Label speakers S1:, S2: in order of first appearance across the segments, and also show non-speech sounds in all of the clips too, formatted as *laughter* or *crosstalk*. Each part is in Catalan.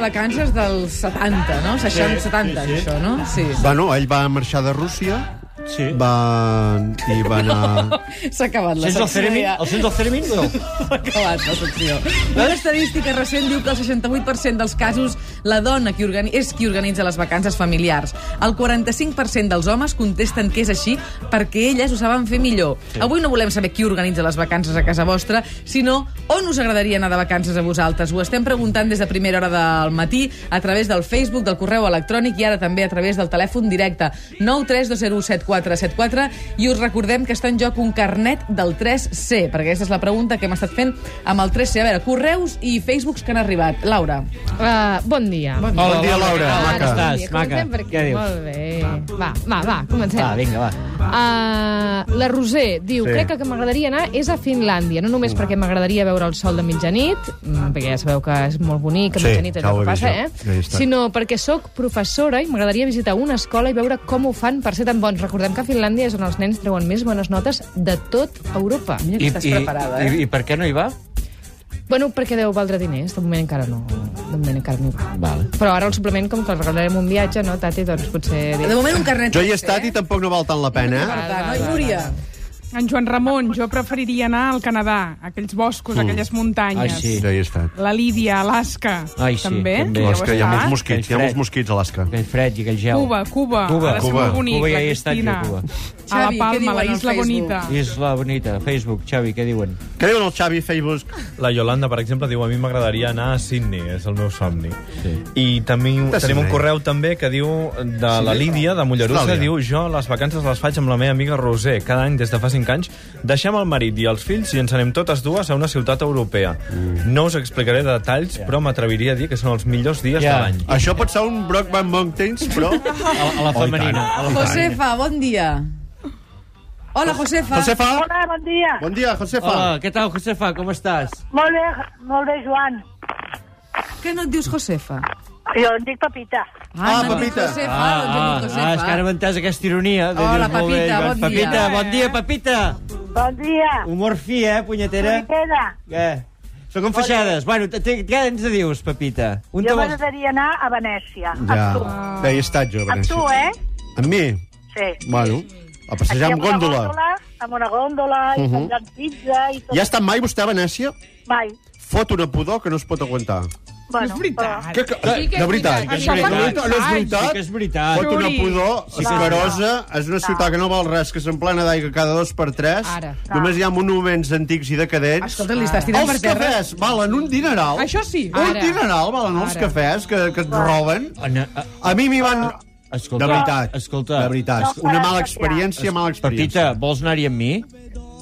S1: vacances dels 70, no? 60, 70,
S2: sí, sí.
S1: això, no? Sí.
S3: Bueno, ell va marxar de Rússia
S2: Sí.
S3: va... i va anar...
S1: S'ha acabat la
S2: Sents el
S1: secció
S2: Fermin?
S1: ja.
S2: El sents el Fermin? No.
S1: S'ha acabat la secció. Una estadística recent diu que el 68% dels casos la dona qui organi... és qui organitza les vacances familiars. El 45% dels homes contesten que és així perquè elles ho saben fer millor. Sí. Avui no volem saber qui organitza les vacances a casa vostra, sinó on us agradaria anar de vacances a vosaltres. Ho estem preguntant des de primera hora del matí a través del Facebook, del correu electrònic i ara també a través del telèfon directe 932017474 i us recordem que està en joc un carnet del 3C, perquè aquesta és la pregunta que hem estat fent amb el 3C. A veure, correus i Facebooks que han arribat. Laura.
S4: Uh, bon dia. Bon
S3: Hola, bon dia, Laura.
S2: Hola,
S3: Maca.
S2: com estàs? Maca,
S4: Comencem per aquí.
S2: què dius?
S4: Molt bé. Va, va, va, comencem.
S2: Va, vinga, va.
S4: Uh, la Roser diu,
S3: Sí.
S4: sí. crec que el que m'agradaria anar és a Finlàndia, no només perquè m'agradaria veure el sol de mitjanit, mm, perquè ja sabeu que és molt bonic, a
S3: Sí,
S4: mitjanit
S3: ja
S4: allò
S3: ho he
S4: que
S3: vist
S4: passa,
S3: jo. Ja hi he
S4: eh?
S3: estat.
S4: sinó perquè sóc professora i m'agradaria visitar una escola i veure com ho fan per ser tan bons. Recordem que a Finlàndia és on els nens treuen més bones notes de tot Europa.
S1: Mira que estàs preparada, eh?
S2: i, I per què no hi va?
S4: Bueno, perquè deu valdre diners, de moment encara no. De moment encara no hi va.
S2: Vale.
S4: Però ara el suplement, com que els regalarem un viatge, no, Tati, doncs potser...
S1: De moment un carnet
S3: Jo hi he
S1: 3C,
S3: estat i Ah, tampoc no val tant la pena,
S1: Per
S3: eh?
S1: tant, no? I Núria?
S5: En Joan Ramon, jo preferiria anar al Canadà, aquells boscos, aquelles muntanyes.
S2: Mm. Ai, sí.
S3: Jo hi he estat.
S5: La Lídia, Alaska,
S2: Ai, sí,
S5: també.
S2: també.
S5: ja ho
S3: És que hi ha
S5: estàs.
S3: molts mosquits, hi ha molts mosquits a Alaska.
S2: Aquell fred i aquell gel.
S5: Cuba, Cuba,
S2: Cuba.
S5: ha de ser
S3: Cuba.
S5: molt bonic,
S2: Cuba ja
S5: la
S2: hi he estat jo,
S5: Cristina.
S2: Cuba.
S5: A la
S1: Xavi, què
S5: Palma,
S1: diuen
S5: la
S1: al
S5: Isla
S1: Facebook?
S5: Bonita.
S2: Isla Bonita, Facebook, Xavi, què diuen?
S3: Què diuen el Xavi Facebook?
S6: La Yolanda, per exemple, diu a mi m'agradaria anar a Sydney, és el meu somni.
S2: Sí.
S6: Sí. I també,
S3: De
S6: tenim
S3: Sydney.
S6: un correu també que diu de la Lídia, de Mollerussa,
S3: Austràlia.
S6: diu jo les vacances les faig amb la meva amiga Roser cada any des de fa 5 anys. Deixem el marit i els fills i ens anem totes dues a una ciutat europea.
S2: Mm.
S6: No us explicaré detalls, però m'atreviria a dir que són els millors dies
S2: Ja. Ah,
S6: de l'any.
S3: Això pot ser un Brockman Mountains, però...
S2: *laughs* A, a la
S3: Oh, i
S2: femenina.
S3: tant.
S2: a la femenina.
S1: Josefa, bon dia.
S3: Ah,
S1: Hola, Josefa.
S3: Josefa?
S7: Hola, bon dia.
S3: Bon dia, Josefa.
S2: Hola, què tal, Josefa? Com estàs?
S7: Molt bé, molt bé, Joan.
S1: Què no et dius Josefa?
S7: Jo em dic Pepita.
S3: Ah,
S1: no et dius
S3: Pepita.
S1: Josefa, doncs jo dic Josefa.
S2: ah, és que ara m'he entès aquesta ironia. de
S1: Hola,
S2: dir, molt bé,
S1: Pepita,
S2: Joan.
S1: bon dia.
S2: Pepita, bon dia, Pepita.
S7: Bon dia.
S2: Humor fi, eh, punyetera?
S7: Pepita.
S2: Què? Són com feixades. Bueno, t- t- què ens dius, Pepita? Un
S7: Jo
S2: te vols-
S7: m'agradaria anar a Venècia.
S3: Ja.
S7: Amb tu.
S3: Bé, hi he estat jo,
S7: Amb
S3: Venècia.
S7: tu, eh?
S3: Amb mi?
S7: Sí.
S3: Bueno, a
S7: Aquí
S3: passejar amb
S7: una
S3: gòndola.
S7: Amb una gòndola, i menjant pizza, i tot.
S3: Ja ha estat mai vostè a Venècia?
S7: Mai.
S3: Fot una pudor que no es pot aguantar.
S7: Bueno,
S5: és veritat.
S3: Que, que, de veritat.
S2: que és
S3: de
S2: veritat.
S3: veritat. No és
S2: Sí
S3: veritat.
S2: que és veritat.
S3: Fot una
S5: Xuri.
S3: pudor
S2: Sí que és
S3: escarosa. És una ciutat que no val res, que s'emplena d'aigua cada dos per tres.
S4: Ara.
S3: Només hi ha monuments antics i decadents.
S1: Escolta, li estàs tirant per
S3: Els
S1: terra.
S3: cafès valen un dineral.
S5: Això sí.
S2: Ah,
S3: Un
S4: Ara.
S3: dineral valen els
S4: Ara.
S3: cafès que, que et roben.
S2: Ana, a-
S3: A mi m'hi van...
S2: eh, Escolta,
S3: de veritat.
S2: escolta.
S3: de veritat.
S7: No,
S3: una
S7: faràs
S3: mala
S7: patear.
S3: experiència, mala
S2: Pepita,
S3: experiència.
S2: vols anar-hi amb mi?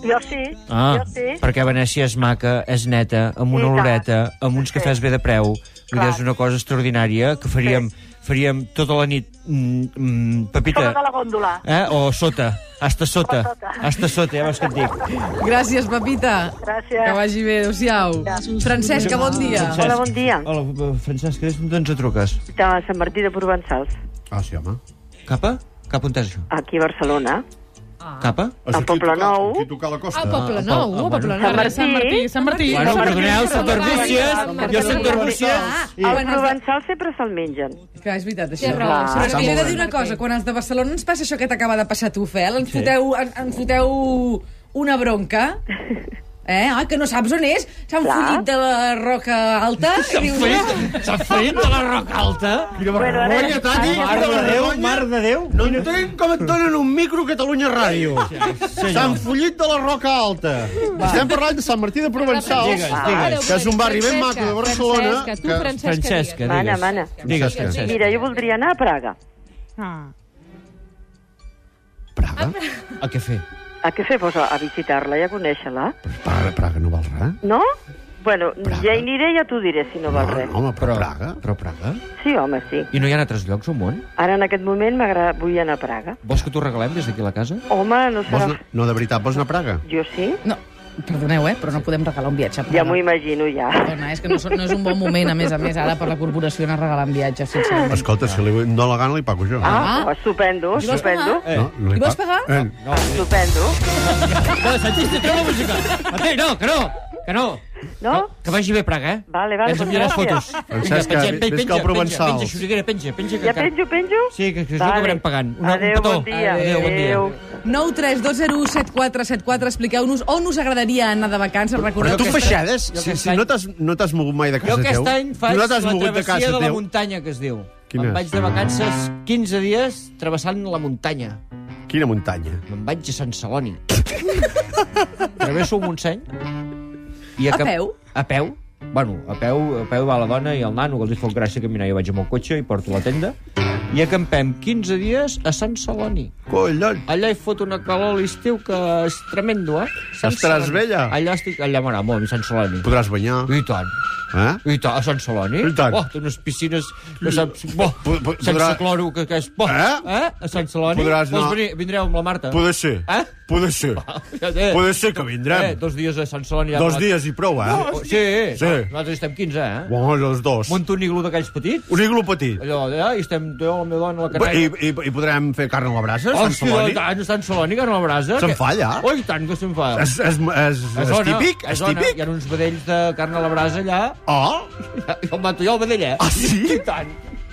S7: jo sí.
S2: Ah,
S7: Jo sí.
S2: perquè Venècia és maca, és neta, amb
S7: I
S2: una
S7: tant.
S2: oloreta, amb uns cafès bé de preu. Vull dir, és una cosa extraordinària que faríem, faríem tota la nit... Mm, mm,
S7: Sobre de
S2: Pepita,
S7: la gòndola.
S2: eh? o sota, hasta sota,
S7: O sota.
S2: hasta sota, ja veus que et dic.
S1: Gràcies, Pepita.
S7: Gràcies.
S1: Que vagi bé, adéu-siau. Francesca, bon dia.
S2: Francesc.
S8: bon dia.
S2: Hola, eh, Francesc, que doncs et truques.
S8: De Sant Martí de Provençals,
S3: Ah, sí, home.
S2: Cap a? Cap on t'has això?
S8: aquí a Barcelona.
S2: Cap a?
S3: Has sortit
S8: Poble
S3: a tocar-
S8: Nou.
S3: has sortit a tocar la costa.
S4: Ah, Poble Nou,
S2: Ah,
S4: ah, Poble
S2: bueno.
S4: Nou.
S5: Sant Martí, Sant Martí.
S2: Bueno, perdoneu, soc d'Arbúcies, jo soc d'Arbúcies.
S8: Els
S1: Quan has de...
S8: provençals sempre se'l mengen.
S1: Que Ah, és veritat, això.
S4: Té raó,
S1: Clar.
S4: sí,
S1: Però és que
S2: sí.
S1: jo he de dir una cosa, quan els de Barcelona ens passa això que t'acaba de passar a tu, Fel, ens foteu, en, ens foteu una bronca, eh? Ah, que no saps on és? S'han
S8: Clar.
S1: follit de la roca alta? I dius, "Ah". no.
S2: S'ha fet de la roca alta?
S3: Quina vergonya, Tati!
S2: Mare de Déu, mare de Déu.
S3: No entenc com et donen un micro a Catalunya Ràdio. S'han follit de la Roca Alta. Estem parlant de Sant Martí de Provençals,
S2: Digues, digues.
S3: que és un barri ben maco de Barcelona.
S4: Francesca, tu,
S3: que-
S4: Francesca,
S2: Francesca,
S4: digues.
S2: digues.
S8: Mana, mana.
S2: Digues,
S3: Francesca.
S2: Francesca.
S8: Mira, jo voldria anar a Praga.
S5: Ah.
S3: Praga?
S2: A què fer?
S8: A què fer? Pues a, a visitar-la i a conèixer-la.
S3: Praga, Praga no val res.
S8: No? Bueno,
S3: Praga.
S8: ja hi aniré i ja t'ho diré, si no val res.
S3: home, però Praga...
S2: Però Praga?
S8: Sí, home, sí.
S2: I no hi ha altres llocs al món?
S8: Ara, en aquest moment, m'agrada... vull anar a Praga.
S2: Vols que t'ho regalem des d'aquí a la casa?
S8: Home, no
S3: Vols
S8: serà...
S3: anar... No, de veritat, vols anar a Praga?
S8: Jo sí?
S1: no, perdoneu, eh? Però no podem regalar un viatge.
S8: Ja m'ho imagino, ja.
S1: Perdona, és que no, so- no és un bon moment, a més a més, ara per la corporació anar regalant viatges, sincerament.
S3: Escolta, si li vull- no la gana li pago jo.
S8: Ah, oh, estupendo,
S1: I vols
S8: estupendo,
S1: pagar?
S3: No, no
S1: I
S3: li
S1: vols
S3: pago.
S1: pagar?
S3: Eh,
S8: estupendo.
S2: No, sentiste, treu la música! Matei, no, que no! Que no!
S8: No?
S2: Que vagi bé a Praga, eh?
S8: Vale, vale,
S2: Ens envia les
S8: gràcies.
S2: fotos.
S3: Francesc,
S2: Vinga,
S3: ves- ves cap a Provençal.
S2: Penja, penja, Xuriguera, penja, penja. Que
S8: Ja
S2: encara-
S8: penjo, penjo?
S2: Sí, que, que us ho acabarem pagant. Una,
S8: Adéu,
S2: un petó.
S8: bon dia.
S2: Adéu, bon dia.
S8: Adéu.
S1: 932017474, expliqueu-nos on us agradaria anar de vacances.
S3: Però
S1: Recordeu
S3: tu
S1: que-
S3: feixades?
S2: jo
S3: Si,
S2: aquest
S3: si no t'has no t'has mogut mai de
S2: Jo
S3: casa
S2: aquest
S3: teu.
S2: any faig
S3: no
S2: la
S3: t'has mogut de
S2: travessia
S3: casa
S2: de, la
S3: teu.
S2: muntanya, que es diu.
S3: Quina
S2: Me'n
S3: és?
S2: vaig de vacances 15 dies travessant la muntanya.
S3: Quina muntanya.
S2: Me'n vaig a Sant Celoni. Travesso el Montseny. I
S1: A
S2: acab-
S1: peu?
S2: A peu. Bueno, a peu, a peu va la dona i el nano, que els hi fot gràcia caminar. Jo vaig amb el cotxe i porto la tenda. I acampem 15 dies a Sant Celoni.
S3: Collons.
S2: Allà hi fot una calor a l'estiu que és tremendo, eh? Sant
S3: Estaràs
S2: Celoni.
S3: vella.
S2: Allà estic... Allà m'agrada molt, a Sant Celoni.
S3: Podràs banyar.
S2: I tant.
S3: Eh?
S2: I tant, a Sant Celoni?
S3: I tant.
S2: Oh, té unes piscines que saps... Bo,
S3: po- po-
S2: sense
S3: podrà-
S2: cloro, que, que és... Bo,
S3: Eh?
S2: eh? A Sant Celoni?
S3: Podràs
S2: Vols
S3: anar-
S2: venir? Vindreu amb la Marta?
S3: Poder ser.
S2: Eh?
S3: Poder ser.
S2: Ja té.
S3: Poder ser que
S2: Eh,
S3: vindrem.
S2: dos dies a Sant Celoni. ja
S3: Dos
S2: va-
S3: dies i prou, eh?
S2: Oh, sí,
S3: Sí.
S2: sí. Nosaltres hi estem 15, eh? Wow.
S3: Bueno, els dos.
S2: Monto un iglú d'aquells petits.
S3: Un iglo petit.
S2: Allò, eh? I estem jo, la meva dona, la
S3: I,
S2: canalla.
S3: i, I podrem fer carn a la brasa? Sant
S2: Hòstia,
S3: Celoni?
S2: tant, Sant Celoni, que no la brasa.
S3: Se'n
S2: que-
S3: fa, allà?
S2: Oh, i tant que se'n fa.
S3: És, és, és,
S2: A
S3: és
S2: zona,
S3: típic?
S2: a
S3: És
S2: zona. Hi
S3: típic?
S2: ha uns vedells de carn a la brasa allà.
S3: Oh!
S2: Jo el mato jo el vedell, eh?
S3: Ah, sí?
S2: *laughs* I tant.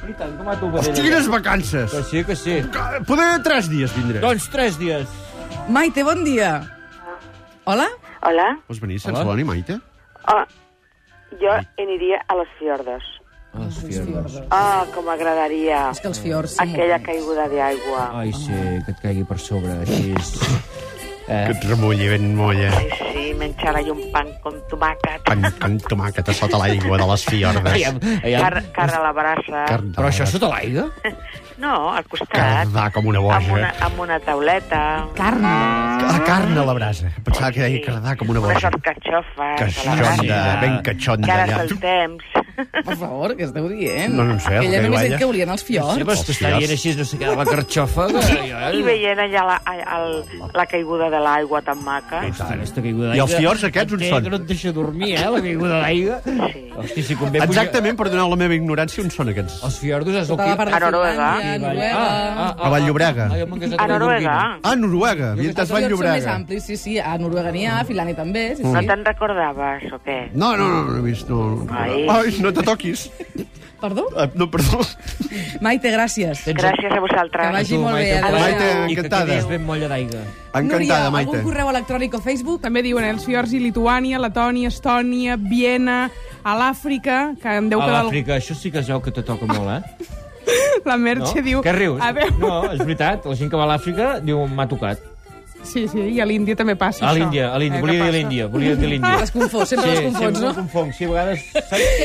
S2: I tant, que mato el vedell.
S3: Hosti, quines vacances!
S2: Que sí, que sí.
S3: Que- Poder tres dies vindré.
S2: Doncs tres dies.
S1: Maite, bon dia. Hola?
S8: Hola?
S3: Vols venir, Sant
S2: Hola.
S3: Celoni, Maite?
S8: Oh, jo aniria a les fiordes.
S2: Ah, fiordes.
S8: Ah, oh, com m'agradaria
S1: És que els fiords són molt
S8: aquella
S1: bonics.
S8: caiguda d'aigua.
S2: Ai, sí, que et caigui per sobre, així és. Eh.
S3: Que et remulli ben eh? molla.
S8: Ai, sí, menjar ahí un pan con tomàquet,
S3: Pan, pan, tomàquet a sota l'aigua de les
S2: Aviam,
S3: fiordes.
S8: car,
S2: aviam.
S8: car a la brasa...
S3: Carn de
S2: Però això
S3: res.
S2: sota l'aigua?
S8: No, al costat.
S3: Cardar com una
S8: Amb una,
S3: boja.
S8: amb una tauleta.
S1: Carme.
S2: Ah,
S3: La carn a la brasa. Pensava que deia
S8: Sí.
S3: cardar com una boja.
S8: Unes carxofes.
S3: Que
S8: a la brasa.
S3: xonda, ben que xonda.
S8: Cares
S3: allà.
S8: del temps.
S1: Per favor, què esteu dient?
S3: No, no en sé,
S1: Aquella
S3: el que
S1: només
S3: balla.
S1: et caurien els
S2: Sí,
S1: fiords.
S2: però és que està dient així, no sé què, la carxofa. Que,
S8: I veient allà la, a- el, la caiguda de l'aigua tan maca.
S2: Hòstia, aquesta caiguda
S3: I
S2: d'aigua...
S3: els fiords aquests on
S2: Té
S3: són?
S2: Que no et deixa dormir, eh, la caiguda d'aigua.
S8: Sí.
S2: Hòstia, si convé... puja-
S3: Exactament, perdoneu la meva ignorància, on són aquests?
S2: Els fiordos és el
S1: Tota la part
S2: que...
S1: de
S8: A Noruega.
S1: Finlàndia, Noruega.
S3: Ah, A Vall-llobrega.
S2: Ah, jo m'he casat
S8: A
S2: amb la
S8: Noruega.
S2: Gorgina.
S3: Ah, Noruega,
S1: Els
S3: Viltes
S1: fiords
S3: Vall
S1: són més
S3: Llobrega.
S1: amplis, sí, sí. A Noruega n'hi ha, a Finlàndia també. Sí,
S8: No
S3: Mm.
S1: sí.
S8: te'n recordaves, o què?
S3: No, no, no, no he vist. No.
S8: Ai.
S3: Ai, no te toquis.
S1: Perdó?
S3: Ah, No, perdó.
S1: Maite, gràcies.
S2: Tens
S8: Gràcies a
S1: Que
S8: vosaltres.
S1: vagi molt
S2: Maite,
S1: bé, adéu.
S3: Maite,
S2: I que
S3: encantada.
S2: quedis ben molla d'aigua.
S3: Encantada,
S1: Núria,
S3: Maite.
S1: algun correu electrònic o Facebook?
S5: També diuen eh, els fiords i Lituània, Letònia, Estònia, Viena, a l'Àfrica, que en deu
S2: A
S5: quedar... algú-
S2: l'Àfrica, això sí que es veu que te toca molt, eh?
S5: La
S2: No?
S5: Merche diu...
S2: Què rius?
S5: A veure...
S2: No, és veritat, la gent que va a l'Àfrica diu m'ha tocat.
S5: Sí, sí, i a l'Índia també passa
S2: A
S5: això.
S2: l'Índia, a l'Índia,
S5: Eh,
S2: volia
S5: que
S2: dir
S5: passa.
S2: l'Índia, volia dir
S1: *laughs*
S2: l'Índia.
S1: Les confons, sempre les confons,
S2: sempre
S1: no?
S2: em confonc, sí, a vegades...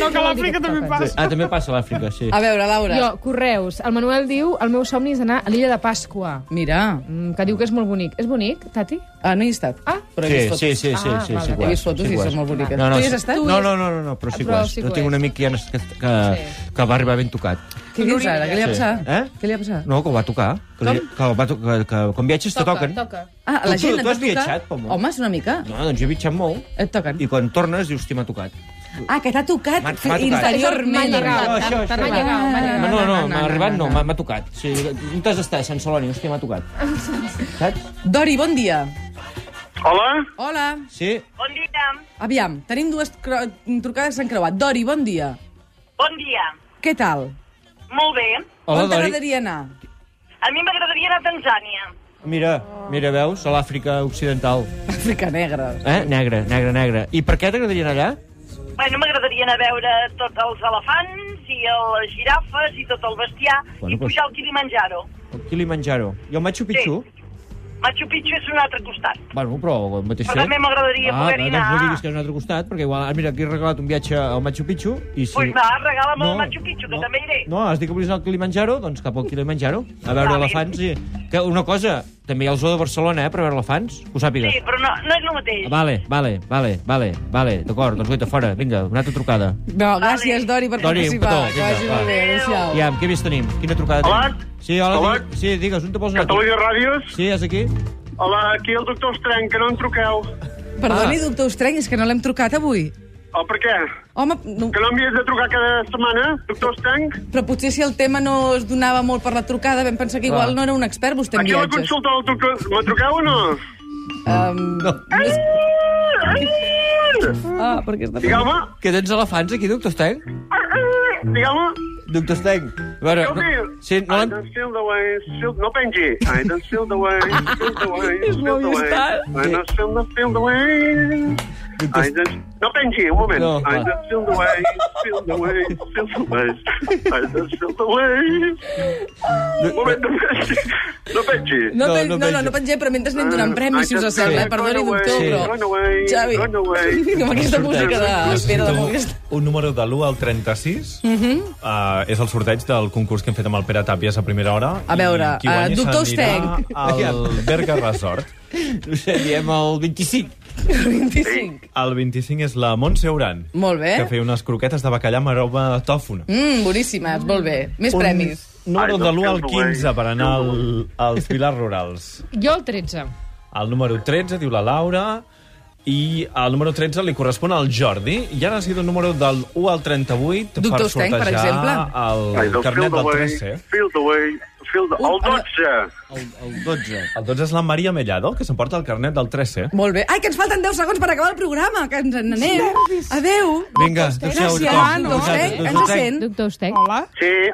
S5: No, que a l'Àfrica també passa.
S2: Ah, també passa a l'Àfrica, sí.
S1: A veure, Laura.
S4: Jo, correus. El Manuel diu el meu somni és anar a l'illa de Pasqua,
S1: Mira,
S4: mm, que diu que és molt bonic. És bonic, Tati?
S1: ah, no hi he estat.
S4: Ah.
S1: però he
S2: Sí,
S1: vist fotos.
S2: sí, sí, sí,
S4: Ah,
S2: sí,
S4: vale.
S2: sí,
S4: He
S2: que ho
S1: vist
S2: és,
S1: fotos
S2: sí
S1: i
S2: que ho
S1: són
S2: és.
S1: molt boniques.
S2: No, no,
S1: Tu hi has
S2: sí-
S1: estat?
S2: No, no, no, no, no, però sí que
S4: Però
S2: ho és.
S4: sí que
S2: Jo
S4: ho
S2: tinc un
S4: és.
S2: amic que, ja n'és- que, que, que va arribar ben tocat.
S1: Què dius ara? Què li ha passat?
S2: Eh?
S1: Què li ha passat?
S2: No, que ho va tocar. Que, li, que, ho va to que, que quan viatges te toquen.
S4: Toca.
S1: Ah,
S2: Tu-
S1: la
S2: tu-
S1: gent
S2: tu
S1: et va
S2: has
S1: tocar?
S2: viatjat, Pomo?
S1: Home, és una mica.
S2: No, doncs jo he viatjat molt.
S1: Et toquen.
S2: I quan tornes dius, hosti, m'ha tocat.
S1: Ah, que t'ha tocat
S2: M'ha- m'ha tocat.
S4: M'ha
S1: interiorment.
S4: llegat.
S2: No, això,
S4: T'ha
S2: això.
S4: llegat,
S1: Ah.
S2: No,
S4: m'ha llegat.
S2: no, no,
S1: no,
S2: m'ha
S1: no,
S2: arribat,
S1: no,
S2: no,
S1: no.
S2: m'ha m'ha tocat. Sí, on t'has d'estar? Sant Celoni, hòstia, m'ha tocat. Saps?
S1: Dori, bon dia.
S9: Hola,
S1: Hola.
S2: Sí?
S9: bon dia.
S1: Aviam, tenim dues cro- trucades que s'han creuat. Dori, bon dia.
S9: Bon dia.
S1: Què tal?
S9: Molt bé.
S2: Hola,
S1: On
S2: Dori.
S1: t'agradaria anar?
S9: A mi m'agradaria anar a Tanzània.
S2: Mira, mira, veus? A l'Àfrica Occidental.
S1: Àfrica Negra.
S2: Eh? Negre, negre, negre. I per què t'agradaria anar allà?
S9: Bueno, m'agradaria anar a veure tots els elefants i les girafes i tot el bestiar
S2: Bueno,
S9: bueno, i
S2: pues-
S9: pujar al Kilimanjaro.
S2: El Kilimanjaro. I el Machu Picchu? Sí.
S9: Machu Picchu és un altre costat.
S2: Bueno, però el mateix
S9: Però també m'agradaria
S2: ah,
S9: poder-hi
S2: doncs no
S9: anar.
S2: diguis que és un altre costat, perquè igual, ah, mira, aquí he regalat un viatge al Machu Picchu i si...
S9: Doncs pues va, regala'm no, el Machu Picchu, que
S2: no,
S9: també iré.
S2: No, has dit que volies anar al Kilimanjaro, doncs cap al Kilimanjaro, a veure
S9: Vale.
S2: elefants i... Que una cosa, també hi ha el zoo de Barcelona, eh, per veure elefants, que ho sàpigues.
S9: Sí, però no, no és el mateix.
S2: Ah, Vale, vale, vale, vale, vale, d'acord, doncs guaita, fora, vinga, una altra trucada.
S1: No, gràcies, Dori, per
S2: Dori, un
S1: participar.
S2: petó,
S1: Que
S2: vinga,
S1: vagi
S2: va.
S1: molt bé, adéu-siau.
S2: Ja, què més tenim? Quina trucada
S9: Hola?
S2: tenim? Sí, hola,
S9: Hola?
S2: digui- sí, digues, on te vols anar? tu?
S9: Catalunya Ràdios.
S2: Sí, és aquí?
S9: Hola, aquí el doctor Estrany, que no em truqueu.
S1: Perdoni,
S2: Ah.
S1: doctor Ostreny, és que no l'hem trucat avui.
S9: O Oh, per què?
S1: Home, no,
S9: no m'hi has de trucar cada setmana, doctor Estrany?
S1: però potser si el tema no es donava molt per la trucada, vam pensar que igual
S2: Clar.
S1: no era un expert vostè en viatges.
S9: del doctor... Me truqueu o no?
S1: Um, no. és- Ah, perquè està...
S3: Digueu-me.
S2: Que tens elefants aquí, doctor Steng?
S3: Digueu-me.
S2: Doctor Steng. A veure, no, sí, no
S3: I
S2: l'han...
S3: don't feel the way, feel... No pengi. I don't feel the way, feel the way, feel the way.
S1: Ah,
S3: I don't feel the, feel the way. I just... No pengi, un moment.
S2: No,
S3: I
S2: va.
S3: just feel the way, feel the way, feel the way. I just feel the way. Un moment, no pengi. No pengi.
S1: No,
S2: No,
S1: no,
S2: no
S1: no, no,
S2: penja.
S1: no pengem, però mentre anem
S8: Ah,
S1: donant premis, si us sembla. Eh? Perdoni, doctor,
S2: Sí.
S1: però...
S3: Run away,
S1: Xavi,
S3: run away.
S1: *laughs* amb aquesta música de... Espera, Mhm. de
S6: Necessito
S1: aquesta...
S6: un número de l'1 al 36. Mm -hmm. uh, és el sorteig del concurs que hem fet amb el Pere Tàpies a primera hora.
S1: A veure,
S6: I qui guanyi
S1: eh, doctor
S6: s'anirà
S1: Steng.
S6: Al Berga Resort.
S2: No sé, diem el 25.
S1: 25.
S6: El 25 és la Montse Uran.
S1: Molt bé.
S6: Que feia unes croquetes de bacallà amb aroma de tòfona.
S1: Mm, boníssimes, molt bé. Més
S6: Un
S1: premis.
S6: Número
S3: Ai,
S6: de l'1 al
S3: no, no,
S6: 15 per
S3: no,
S6: anar al, als Pilars Rurals.
S4: Jo el 13.
S6: El número 13, diu la Laura, i el número 13 li correspon al Jordi. I ara ha sigut el número del 1 al 38
S1: Doctor
S6: per
S1: Steng, per
S6: sortejar
S1: exemple.
S3: I
S6: el
S3: don't feel
S6: carnet
S3: the
S6: del
S3: way,
S6: 13.
S3: feel the way, feel the... El
S1: Un-
S3: 12.
S2: El, el 12.
S6: El 12 és la Maria Mellado, que s'emporta el carnet del eh? 13.
S1: Molt bé. Ai, que ens falten 10 segons per acabar el programa, que ens n'anem. Adéu.
S2: Vinga, adéu-siau.
S1: Gràcies,
S2: a tothom.
S1: doctor Steng. Ens sent?
S4: Doctor Ostec.
S10: Hola.
S3: Sí, el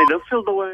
S3: I don't feel the way.